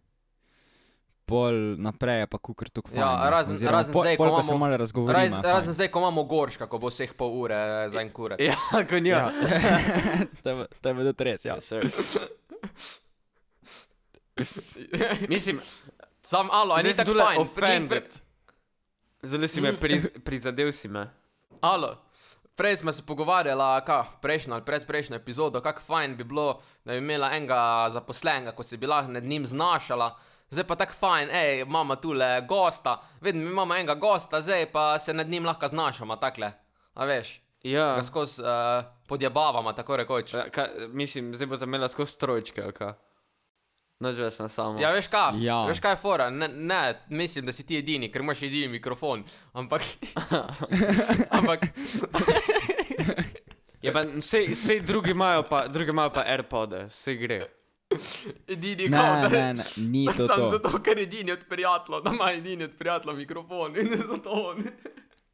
E: pol naprej je pa kukar tu kvalitet.
A: Ja, razen- razen zdaj, ko
E: pol, ko se
A: imamo-
E: malo razgovorimo.
A: Raz,
E: je fajn.
A: razen zdaj, ko imamo gorška, ko bo vseh pol ure eh, za en kurec.
B: Ja, ko njo. Ja.
E: Tebe, tebe da res, ja.
B: Sir. Mislim,
A: Sam alo, a ni
B: zdaj
A: tako
B: tule
A: fajn. Mm. Prej-
B: offended.
A: prej-
B: Zdaj si me priz, prizadel si me.
A: Alo. Prej smo se pogovarjali, kaj prejšnjo ali predprejšnjo epizodo, kako fajn bi bilo, da bi imela enega zaposlenega, ko si bila nad njim znašala. Zdaj pa tako fajn, hej, imamo tule gosta, vedno imamo enega gosta, zdaj pa se nad njim lahko znašamo, takle. A veš,
B: Ja.
A: ga skozi uh, podjebavamo, tako rekoč.
B: Ja, Ka, mislim, zdaj bo zamela skozi trojčke, ali kaj? Nočeš na samo.
A: Ja, veš kaj?
E: Ja.
A: Veš kaj je fora? Ne, ne, mislim, da si ti edini, ker imaš edini mikrofon. Ampak. ampak.
B: ja pa vse, vse drugi imajo pa, drugi imajo pa AirPode, vse gre.
A: Edini
E: Ne,
A: kao, da-
E: ne, ne, ni to
A: Sam
E: to.
A: zato, ker je edini od prijateljev, da ima edini od prijateljev mikrofon in zato on.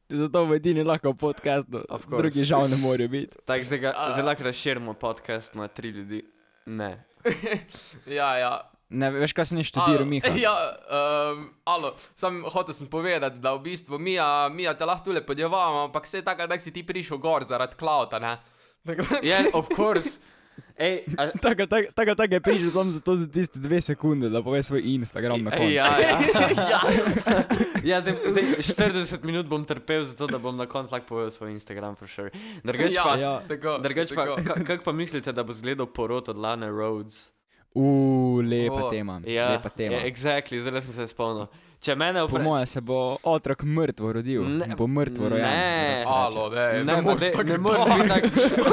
E: Zato v edini lahko podcast,
B: Of course.
E: drugi žal ne morejo biti.
B: Tako zdaj ga- zdaj lahko razširimo podcast na tri ljudi. Ne.
A: Ja, ja.
E: Ne, veš, kaj sem jaz študiral,
A: Alo,
E: Miha?
A: Ja, um, alo, sam hotel sem povedati, da v bistvu mi, mi te lahko tule podjevamo, ampak se je tako, da si ti prišel gor zaradi klauta, ne? Tako da-
B: Ja, yeah, of course. Ej, a,
E: Tako, tako, tako, tako je prišel samo zato za tiste dve sekunde, da pove svoj Instagram na koncu.
B: ej, ja, ja.
A: ja.
B: ja zdaj, zdaj 40 minut bom trpel, zato da bom na koncu lahko povedal svoj Instagram, for sure. Drugač
A: ja,
B: pa,
E: ja.
A: Tako,
B: drugač pa
A: tako.
B: ka- kako pa mislite, da bo izgledal porod od Lane Rhodes?
E: Uuu, lepa
A: O, E,
E: tema.
B: Ja,
E: Lepa tema.
B: Ja, exactly, zdaj sem se spomnil. Če mene
E: Po
B: vprašaš,
E: moje se bo otrok mrtvo rodil,
B: Ne,
E: ne bo mrtvo rojen.
B: ne.
A: Alo, ne,
B: ne moreš tako ne moreš biti tak,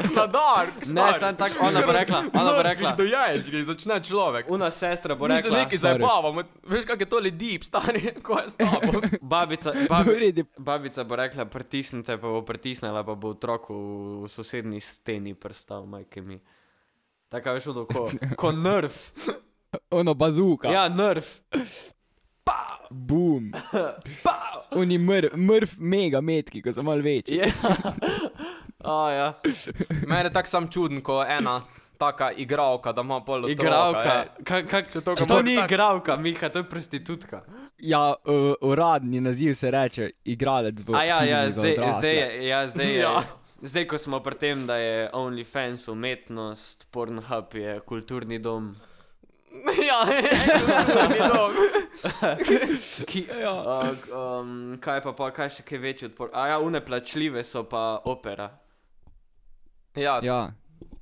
A: tako na dark.
B: ne, sem tak, ona bo rekla, ona bo rekla,
A: Dojajčki, začne človek.
B: una sestra bo
A: Mi se
B: rekla,
A: nekaj
E: sorry.
A: zabavamo, veš kak je tole deep, stari, ko je s tabo.
B: babica,
E: V
B: babi,
E: redu.
B: babica bo rekla, pritisnite, pa bo pritisnila, pa bo otroku v sosednji steni prstal, majke mi. Tako veš, od oko, ko nerv,
E: Ono bazuka.
B: ja, nerv.
E: Bum. Oni mrv, mrv mega metki, ko so mal večji.
B: Ja. A, ja.
A: Mene tako sam čuden, ko je ena taka igravka, da ima pol otroka.
B: Igravka.
A: ej.
B: Kak, kak, to,
A: ga
B: to
A: mora
B: ni
A: tak-
B: igravka, Miha, to je prostitutka.
E: Ja, uh, uradni naziv se reče igralec bo.
B: A ja, ja,
E: filmu za
B: zdaj,
E: odrasle.
B: zdaj, je- ja, zdaj, je,
A: Ja.
B: zdaj, ko smo pri tem, da je OnlyFans umetnost, Pornhub je kulturni dom.
A: Ja, ni dom.
B: Ki,
E: Ja.
B: uh, um, kaj pa, pa, kaj še kaj večje od Pornhuba? A ja, uneplačljive so pa opera.
A: Ja,
E: Ja.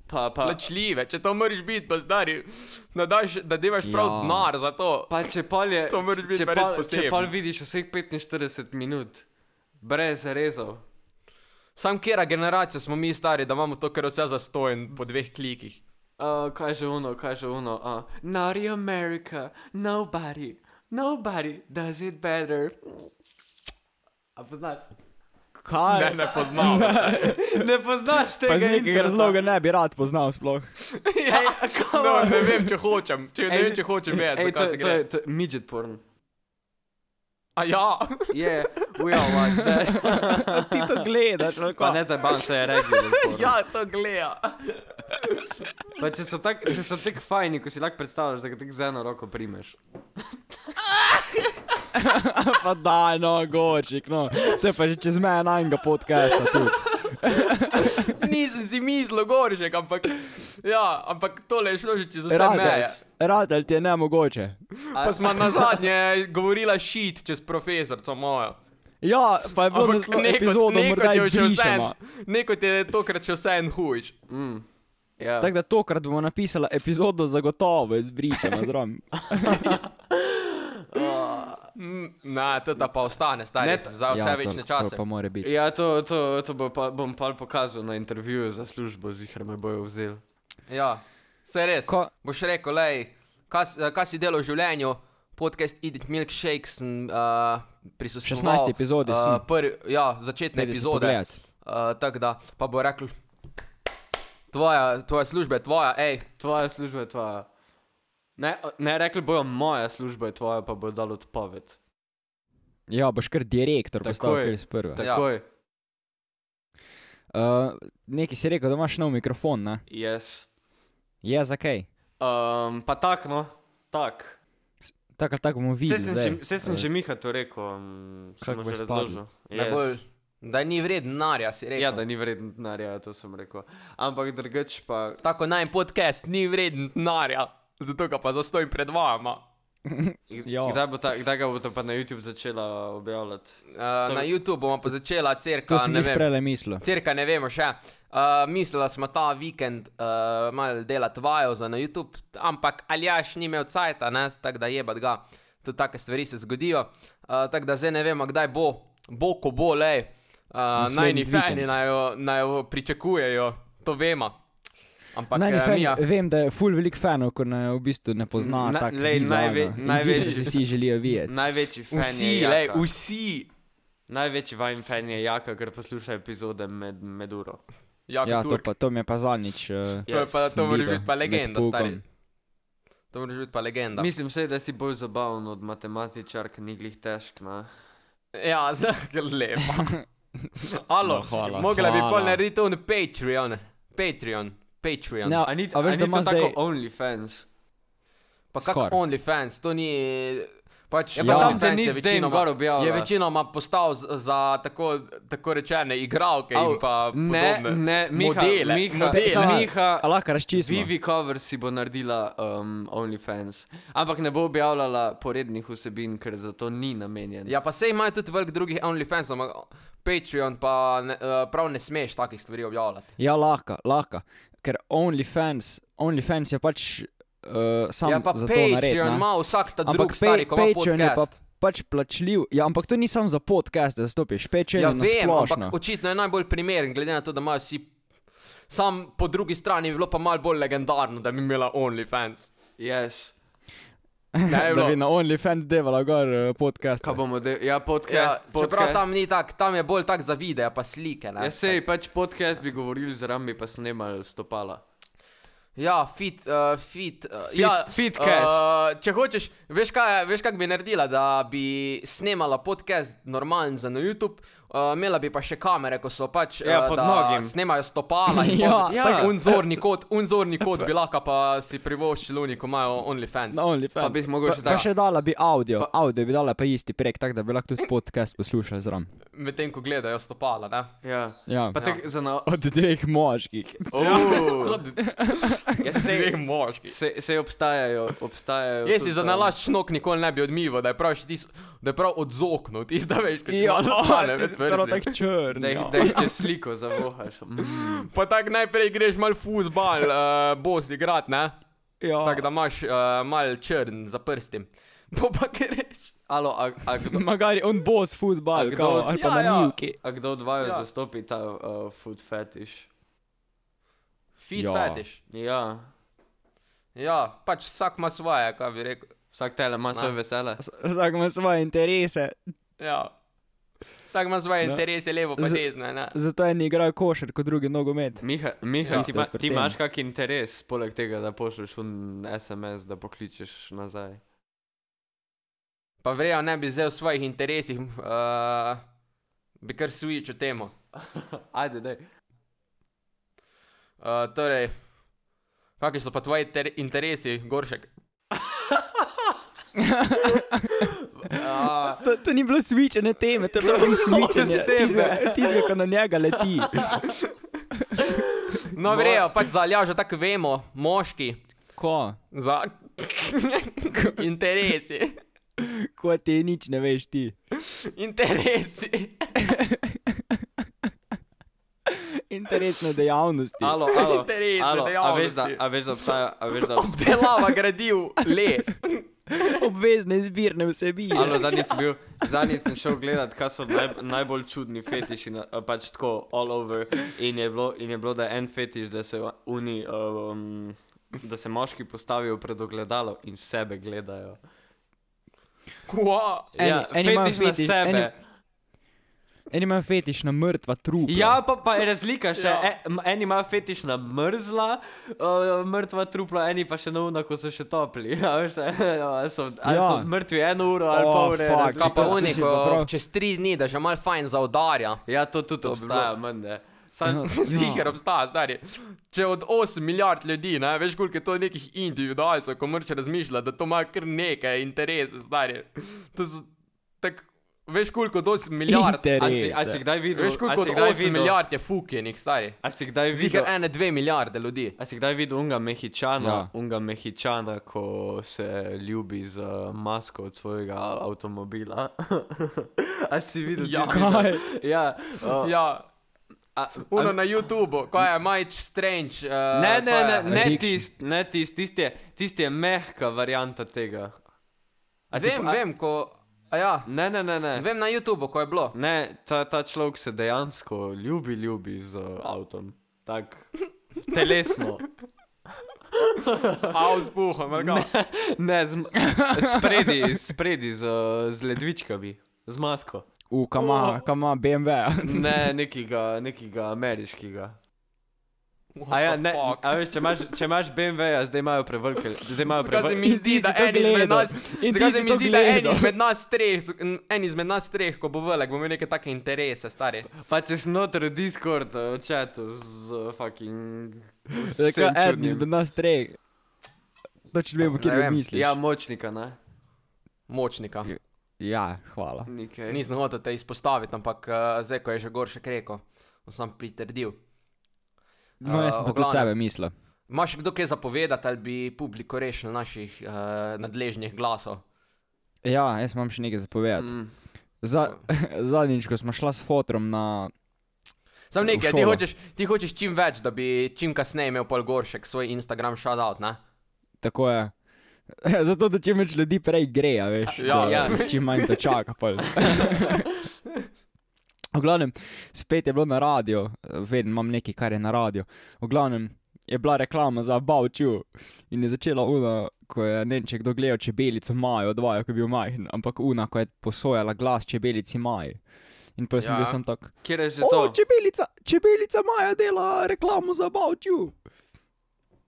B: Pa, pa,
A: plačljive, če to moraš biti, pa zdari, da, daš, da devaš prav
E: Ja.
A: denar za to.
B: pa če pol je,
A: To moraš biti
B: če,
A: pa res
B: pol, če
A: poseben.
B: pol vidiš vseh 45 minut, brez rezov.
A: Sam kera generacija smo mi stari, da imamo to, kar je vse zastojen po dveh klikih.
B: Uh, kaj že uno, kaj že uno. Uh, Naughty America, nobody, nobody does it better. A poznaš?
E: Kaj?
A: Ne, ne poznam.
B: Ne poznaš
E: Pa iz
B: tega
E: nekega razloga ne bi rad poznal sploh.
B: Ej, come
A: No,
B: on.
A: ne vem, če hočem, če, ne
B: Ej,
A: vem, če hočem vedeti,
B: Ej, to,
A: zakaj se
B: to, je-
A: gre.
B: to je midget porn.
A: A ja,
B: Yeah, we all watch that.
E: Ti to gledaš,
B: Pa
E: no, kako?
B: ne zabavam se, je regular porn.
A: ja, to gleda.
B: Pa če so tak, če so tak fajni, ko si lahko predstavljaš, da ga tak z eno roko primeš.
E: Pa daj, no, gočik, no. To je pa že čez mene enega podcasta tu.
A: Nisem si mislil, goršek, ampak, ja, ampak tole je šlo že čez vse meje.
E: Radelj, radelj ti je nemogoče.
A: Pa smo na zadnje govorila šit čez profesorco mojo.
E: Ja, pa je bilo
A: Ampak
E: naslo-
A: nekod-
E: epizodo
A: nekod
E: morda
A: je že
E: izbrišena.
A: vseeno- Nekot je tokrat še vse en hujš.
B: Ja.
E: Tako da tokrat bomo napisali epizodo zagotovo izbrišena zraven.
A: Mm, Ne, to da pa ostane, stari,
B: Ne, to-
A: za vse večne čase.
E: Ja, To pa mora biti.
B: Ja, to, to, to bo pa, bom pa pokazal na intervjuju za službo, zihar me bojo vzeli.
A: Ja, se res.
E: Ko-
A: Boš rekel, lej, kaj, s- kaj si delal v življenju, podcast Edit Milkshake sem uh, prisostoval.
E: 16. epizodi
A: Uh,
E: sem.
A: prvi, ja, začetne
E: Pojdi si
A: epizode.
E: pogledat.
A: Uh, Tako da, pa bo rekel, tvoja, tvoja služba je tvoja, hej,
B: Tvoja služba je tvoja. Ne, o- ne rekli bojo, moja služba je tvoja, pa bo dal odpoved.
E: Ja, boš kar direktor postal,
B: Takoj.
E: ker si prva.
A: Tak-
B: Takoj.
E: Uh, Nekaj si rekel, da imaš nov mikrofon, ne?
B: Yes.
E: Ja, zakaj?
B: Um, pa tak, no, tak.
E: Tako ali tako bomo
B: Vse
E: videli.
B: sem,
E: zdaj.
B: že, vse sem
E: Eh,
B: že Miha to rekel, um, sem
E: Kako
B: že
E: boš
B: razložil.
A: yes. bolj, da ni vreden denarja, si rekel.
B: Ja, da ni vreden denarja, ja, to sem rekel. Ampak drugač pa,
A: Tako naj podcast ni vreden denarja, zato ga pa zastojim pred vama.
E: Ja.
B: kdaj, bo ta, kdaj ga boste pa na YouTube začela objavljati?
A: Uh,
B: Torej.
A: na YouTube bomo pa začela
E: To
A: crka,
E: sem
A: ne
E: jih
A: vem.
E: prele mislil.
A: Cirka ne vemo še. Uh, mislila smo ta vikend uh, malo delati vajo za na YouTube, ampak Aljaš ni imel cajta, ne, tako da jebat ga. Tudi take stvari se zgodijo. Uh, tako da zdaj ne vemo, kdaj bo, bo ko bo, le. Uh, najni
E: Naslednji
A: fani
E: vikend.
A: naj jo, naj jo pričakujejo, to vemo. Ampak
E: Naj,
A: eh,
E: fan,
A: Mija,
E: vem, da je full velik fanov, ko ne v bistvu ne pozna.
B: Na-
E: Na, tak,
B: lej, najve-
E: najve,
B: največji-
E: največji. Vsi želijo videti.
B: Največji fan
A: vsi,
B: je
A: le,
B: Jaka.
A: vsi.
B: Največji vajen fan je Jaka, ker posluša epizode med, med uro.
A: Jaka
E: Ja, to,
A: Turk.
E: pa, to mi je pa zadnjič. Uh,
A: To, je pa,
E: sem
A: to mora
E: videl
A: biti pa
E: med
A: legenda,
E: poukom.
A: stari. To mora biti pa legenda.
B: Mislim vse, da si bolj zabaven od matematičark, ni glih težk. Ne?
A: Ja, zelo lepo. Alo,
E: No, hvala,
A: mogla bi pol
E: hvala.
A: narediti un Patreon. Patreon. Patreon.
E: Ja,
A: Ja,
B: A ni,
E: a
B: a ni
E: veš,
B: to
E: da ima
B: tako
E: zdaj.
B: OnlyFans?
A: pa kako
E: skoraj. Ja,
A: OnlyFans, to ni... Pač,
E: pa tam
B: Ja, te
A: OnlyFans
B: ni
A: je
B: zdaj
A: večinoma-
B: gor objavila.
A: Je večinoma postal z- za tako, tako rečene igralke
B: Au,
A: in pa
B: ne,
A: podobne
B: ne, Miha,
A: modele.
B: Miha,
A: modele.
B: Samo-
E: Samo-
B: Miha,
E: a lahko razčistimo.
B: Vivi Cover si bo naredila um, OnlyFans, ampak ne bo objavljala porednih vsebin, ker za to ni namenjen.
A: Ja, pa sej imajo tudi velik drugih OnlyFans, ampak Patreon pa ne, eh, prav ne smeš takih stvari objavljati.
E: Ja, lahko, lahko. Ker OnlyFans, OnlyFans je pač uh, sam
A: Ja, pa
E: za to naredi.
A: Patreon
E: ne.
A: ima vsak ta
E: Ampak
A: drug stari, ko ima
E: Patreon je pa
A: podcast.
E: pač plačljiv. Ja, ampak to ni samo za podcast, da stopiš. Patreon
A: Ja,
E: je na
A: vem,
E: splošno.
A: ampak očitno je najbolj primeren, glede na to, da imajo vsi. Sam po drugi strani bi bilo pa malo bolj legendarno, da bi imela OnlyFans.
B: Yes.
A: Ne, je
E: da
A: bilo.
E: bi na OnlyFans delala gor eh, podcast.
B: Kaj bomo delali? Ja,
A: Ja,
B: podcast.
A: čeprav
B: podcast.
A: tam ni tako, tam je bolj tak za videe, pa slike. Ne?
B: Ja, sej, pač podcast bi govorili z rami, pa snemali stopala.
A: Ja, fit, uh, fit, uh,
B: Fit-
A: ja,
B: fitcast.
A: Uh, če hočeš, veš kaj, je- veš kaj bi naredila, da bi snemala podcast normalen za na YouTube, uh, imela bi pa še kamere, ko so pač
B: Ja,
A: eh,
B: pod
A: da
B: nogim.
A: Snemajo stopala in
E: Ja,
A: pod,
B: ja.
A: tako unzorni kot, unzorni kot bi lahko pa si privoščili oni, ko imajo OnlyFans.
E: Na OnlyFans.
B: Pa bi jih mogoče
E: pa, pa
B: dala.
E: še dala bi audio. Pa, audio bi dala pa isti prek, tako da bi lahko tudi podcast poslušal zraven.
A: Medtem ko gledajo stopala, ne?
B: Ja.
E: Ja.
B: Pa tako za na.
E: Od dveh moških.
B: Oh.
A: Ja, sej moški.
B: Se, se obstajajo, obstajajo.
A: Jaz
B: tudi
A: si za
B: tam.
A: nalašč nok nikoli ne bi odmival, da je prav, še tis, da je prav odzoknut, tista veš, kaj ti
E: Ja,
A: ostane, veš,
E: zelo tako črn.
B: Da jih,
E: ja.
B: da jih če sliko zavohaš. Mm.
A: Pa tako najprej greš mal fuzbal, uh, bos igrat, ne?
E: Ja.
A: Tako da imaš uh, mal črn za prstim. Po pa greš.
B: Alo, a, a kdo?
E: Magari on bo s fuzbal,
B: kdo-
E: kao, ali pa
A: ja,
E: na
A: ja.
E: mivki.
B: A kdo od vaju
A: Ja.
B: ja. zastopi ta uh, food fetish?
A: Fit
E: Ja.
A: ja. fetiš.
B: Ja,
A: Ja, pač vsak ima svoje, kaj bi rekel.
B: vsak tele ima svoje vesele.
E: Vsak ima svoje interese.
A: Ja. Vsak ima svoje
E: No.
A: interese, levo pa
E: Z-
A: desno, ne?
E: Zato eni igrajo košar, kot drugi nogomet.
B: Miha, Miha ja,
E: Ja, to
B: ti,
E: je
B: ma,
E: pri
B: ti
E: tem.
B: imaš kak interes, poleg tega, da pošlješ un SMS, da pokličeš nazaj.
A: Pa verjel ne bi vzel svojih interesih, uh, bi kar switch o temo.
B: Ajde, dej.
A: Uh, torej, kakšni so pa tvoji ter- interesi, Goršek? Ja.
E: To, to ni bilo svičene teme, to je bilo samo svičenje. Tisto, ko na njega leti.
A: No, verjel, pač za aljažo tako vemo, moški,
E: Ko?
A: za interesi,
E: Ko ti nič ne veš ti.
A: interesi.
E: Interesne dejavnosti.
B: Alo, alo,
A: Interesne
B: alo, a veš, da,
A: dejavnosti.
B: a veš, da obstaja, a veš, da obstaja.
A: Obdelava gradiv, les.
E: Obvezne izbirne vsebine.
A: Ja.
B: Alo, zadnjič sem bil, zadnjič sem šel gledat, kaj so naj, najbolj čudni fetiši, na, pač tako, all over. In je bilo, in je bilo da je en fetiš, da se oni, um, da se moški postavijo pred ogledalo in sebe gledajo.
A: Kva?
E: Eni-
B: ja,
E: eni imajo
B: fetiš na
E: fetiš,
B: sebe.
E: eni- En ima fetiš na mrtva trupa.
B: Ja, pa, pa je razlika še.
A: Ja.
B: Ja. En, en ima fetiš na mrzla, uh, mrtva trupla, eni pa še na uno, ko so še topli. Ja, veš, ali so, ali
E: Ja.
B: so mrtvi eno uro ali
E: Oh,
B: pol ure.
E: fuck.
B: razlika.
A: Kaj pa
E: to si
A: uniko,
E: pa prav.
A: čez tri dni, da že mal fajn zaudarja.
B: Ja, to tudi
A: To bi bilo-
B: obstaja, mende. Ja. Sam,
E: Ja.
A: Ziger obstaja, stari. Če od 8 milijard ljudi, ne, veš, koliko je to nekih individualcev, ko mrče razmišlja, da to ima kar nekaj interesa, stari. To so tak, veš, koliko od 8 milijard.
B: a,
E: Interes.
B: si, a si kdaj videl?
A: Veš, koliko
B: a
A: od
B: si kdaj
A: 8 milijard je fukenih, stari.
B: A si kdaj
A: Ziger
B: videl?
A: ene, dve milijarde ljudi.
B: A si kdaj videl unga mehičana,
E: Ja.
B: ja. unga mehičana, ko se ljubi z uh, masko od svojega avtomobila? a si videl?
A: Ja.
B: tisti video? Ja, uh,
A: Ja,
B: A,
A: uno na YouTubu, ko je Mike Strange. Uh,
B: Ne, ne,
A: kaj je?
B: ne, ne
E: Addiction.
B: tisti, ne tisti, tisti je, tist je mehka varianta tega. A ti
A: Vem,
B: pa- a-
A: vem, ko. A ja,
B: Ne, ne, ne, ne.
A: vem na YouTubu, ko je bilo.
B: Ne, ta, ta človek se dejansko ljubi, ljubi z uh, avtom. Tako telesno.
A: A vzbuhom, ali kaj?
B: Ne, z, m- spredi, spredi z, uh, z ledvičkami, z masko.
E: U, kama, kama BMW.
B: Ne, nekega, nekega ameriškega. A ja, ne, a veš, če imaš, če imaš BMW-ja, zdaj imajo prevelike. Zdaj imajo
A: Zakaj se
B: prevelike.
A: mi zdi,
E: ti
A: da
E: si to
A: en izmed
E: gledal.
A: nas,
E: In
A: zakaj
E: ti
A: se
E: si
A: mi
E: to
A: zdi, da en
E: gledal.
A: izmed nas treh, en izmed nas treh, ko bo velik, bo imel neke take interese, stari.
B: Pa če si Pač noter v Discord eh, četu z eh, fucking. vsem
E: Zdaj, kaj eden
B: čudnim.
E: izmed nas treh. Točno vemo,
A: Ne
E: kje
A: vem.
E: misliš.
B: Ja, močnika, ne?
A: Močnika.
E: ja, hvala.
B: Nikaj.
A: Nisem hotel te izpostaviti, ampak uh, zdaj, ko je že Goršek rekel, sem sam pritrdil.
E: No, jaz sem
A: Eh,
E: pa
A: v
E: tudi
A: glavnem.
E: sebe mislil.
A: Imaš kdo kaj zapovedati ali bi publiko rešil naših uh, nadležnih glasov?
E: Ja, jaz imam še nekaj zapovedati.
B: Mm.
E: Za, zadnjič, ko smo šla s fotom na...
A: Sam
E: V
A: nekaj, ti
E: šolo.
A: hočeš, ti hočeš čim več, da bi čim kasneje imel pol Goršek svoj Instagram shoutout, ne?
E: Tako je. Zato, da čim več ljudi prej gre, a veš,
B: Ja,
E: da,
B: ja.
E: čim manj to čaka. pol. V glavnem, spet je bilo na radiju, vedno imam nekaj, kar je na radiju. V glavnem je bila reklama za Bavču in je začela Una, ko je ne vem, če je kdo gledal čebelico Majo, odvaja, ko je bil majhen, ampak Una, ko je posojala glas čebelici Maji. In pa sem
B: Ja.
E: ja. bil sem tak.
B: Kjer je že
E: O,
B: to?
E: čebelica, čebelica Maja dela reklamo za Bavču.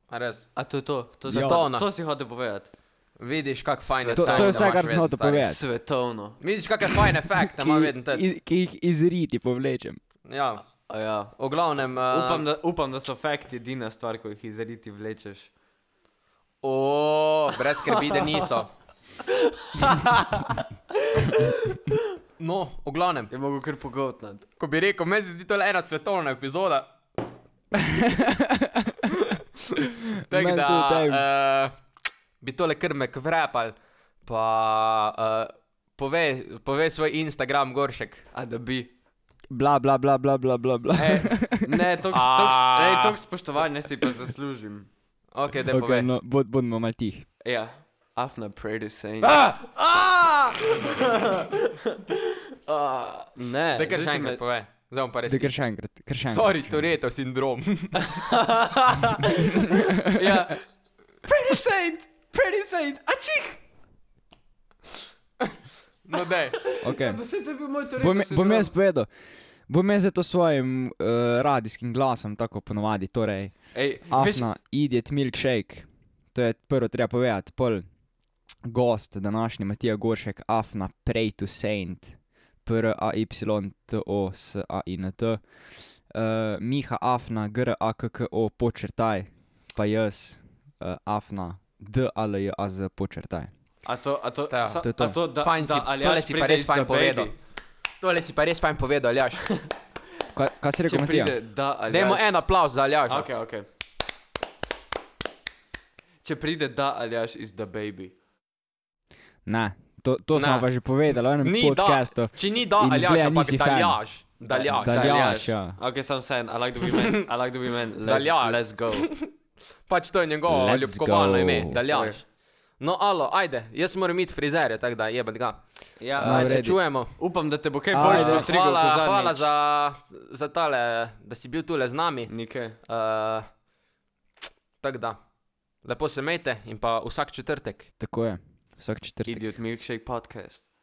A: A res.
B: A to je to, to,
E: Ja.
B: to,
A: Svetovna.
B: to, to si hotel povedati.
A: Vidiš, kak fajn je
E: To,
A: time,
E: to
A: da
E: je vse,
A: imaš
E: kar sem
A: vedno,
E: hotel
A: stari.
E: povedati.
B: Svetovno.
A: Vidiš, kak je fajn efekt, da ima vedno te.
E: iz, ki jih izriti povlečem.
A: Ja,
B: A Ja.
A: o glavnem. Uh,
B: Upam, da, upam, da so fakti edina stvar, ko jih izrediti vlečeš.
A: O, brez skrbi, da niso. No, v glavnem.
B: Je mogel kar pogotnati.
A: Ko bi rekel, meni se zdi to le ena svetovna epizoda. Tako
E: Meni tudi, daj.
A: da uh, bi tole kar mek vrepal, pa uh, pove, pove svoj Instagram, Goršek.
B: A da bi.
E: Bla, bla, bla, bla, bla, bla. bla.
A: Eh,
B: E, ne, toks, toks,
A: A.
B: ej, toks spoštovanja si pa zaslužim.
A: Ok, da okay, pove.
E: Okay,
A: No.
E: no, bod, bodimo malo tih.
B: Ja. Afna pray the same.
A: Ah!
B: Ne,
A: Da kar še
B: zdaj si
A: enkrat
B: me-
A: pove. Zdaj bom pa res.
E: Da kar še enkrat, kar še enkrat.
A: Sorry, Toretov sindrom.
B: Ja. Pretty saint, pretty saint, ačih!
A: No, dej.
E: Okay.
B: Vse to je bil moj
E: Bom,
B: torej.
E: bom jaz povedal. Bom jaz to svojim uh, radijskim glasom, tako ponovadi, torej,
B: Ej, veš,
E: afna, idiot milkshake, to je prvo treba povedati, pol gost današnji Matija Goršek, afna, pray to saint, p-r-a-y-t-o-s-a-i-n-t, uh, Miha afna, g-r-a-k-k-o, počrtaj, pa jaz, uh, afna, d-a-l-j-a-z, počrtaj.
B: a to, a to,
A: Ta,
B: sa-
E: to je to.
B: a to, da,
A: Fajn
B: da,
A: si,
B: Aljaš
A: tole si pa
B: pride
A: res
B: iz
A: fajn
B: tabeli.
A: povedal. Tole si pa res fajn povedal, Aljaš.
E: Kaj, kaj
B: Če
E: si rekel, ja. Matija?
B: pride, da, ali
A: Dajmo en aplauz za Aljaša.
B: Ok, ok. Če pride, da, ali jaš iz The Baby.
E: Ne, to, to smo
A: Ne.
E: pa že povedali v enem
A: Ni da,
E: podkastu.
A: če ni da,
E: In
A: ali jaš,
E: izgleda
A: ampak
E: nisi fan.
A: daljaš. Daljaš.
E: Da-
A: Daljaš.
E: Aljaš, ja.
B: Ok, sam sen, I like to be men, I like to be men, let's,
A: Aljaš.
B: let's go.
A: Pač to je njegovo
E: Let's
A: ljubkovalno
E: go.
A: ime, daljaš.
B: Sorry.
A: No, alo, ajde, jaz moram iti frizerju, tako da jebet ga.
B: Ja,
E: No,
A: Aj,
E: v
A: se
E: redu.
A: čujemo.
B: upam, da te bo kaj
E: Ajde.
B: boljš
E: Ajde.
B: postrigel.
A: Hvala,
B: kot zadnjič.
A: hvala za, za tale, da si bil tule z nami.
B: Nike.
A: Uh, tako da, lepo se mejte in pa vsak četrtek.
E: Tako je, vsak četrtek.
B: Idiot Milkshake Podcast.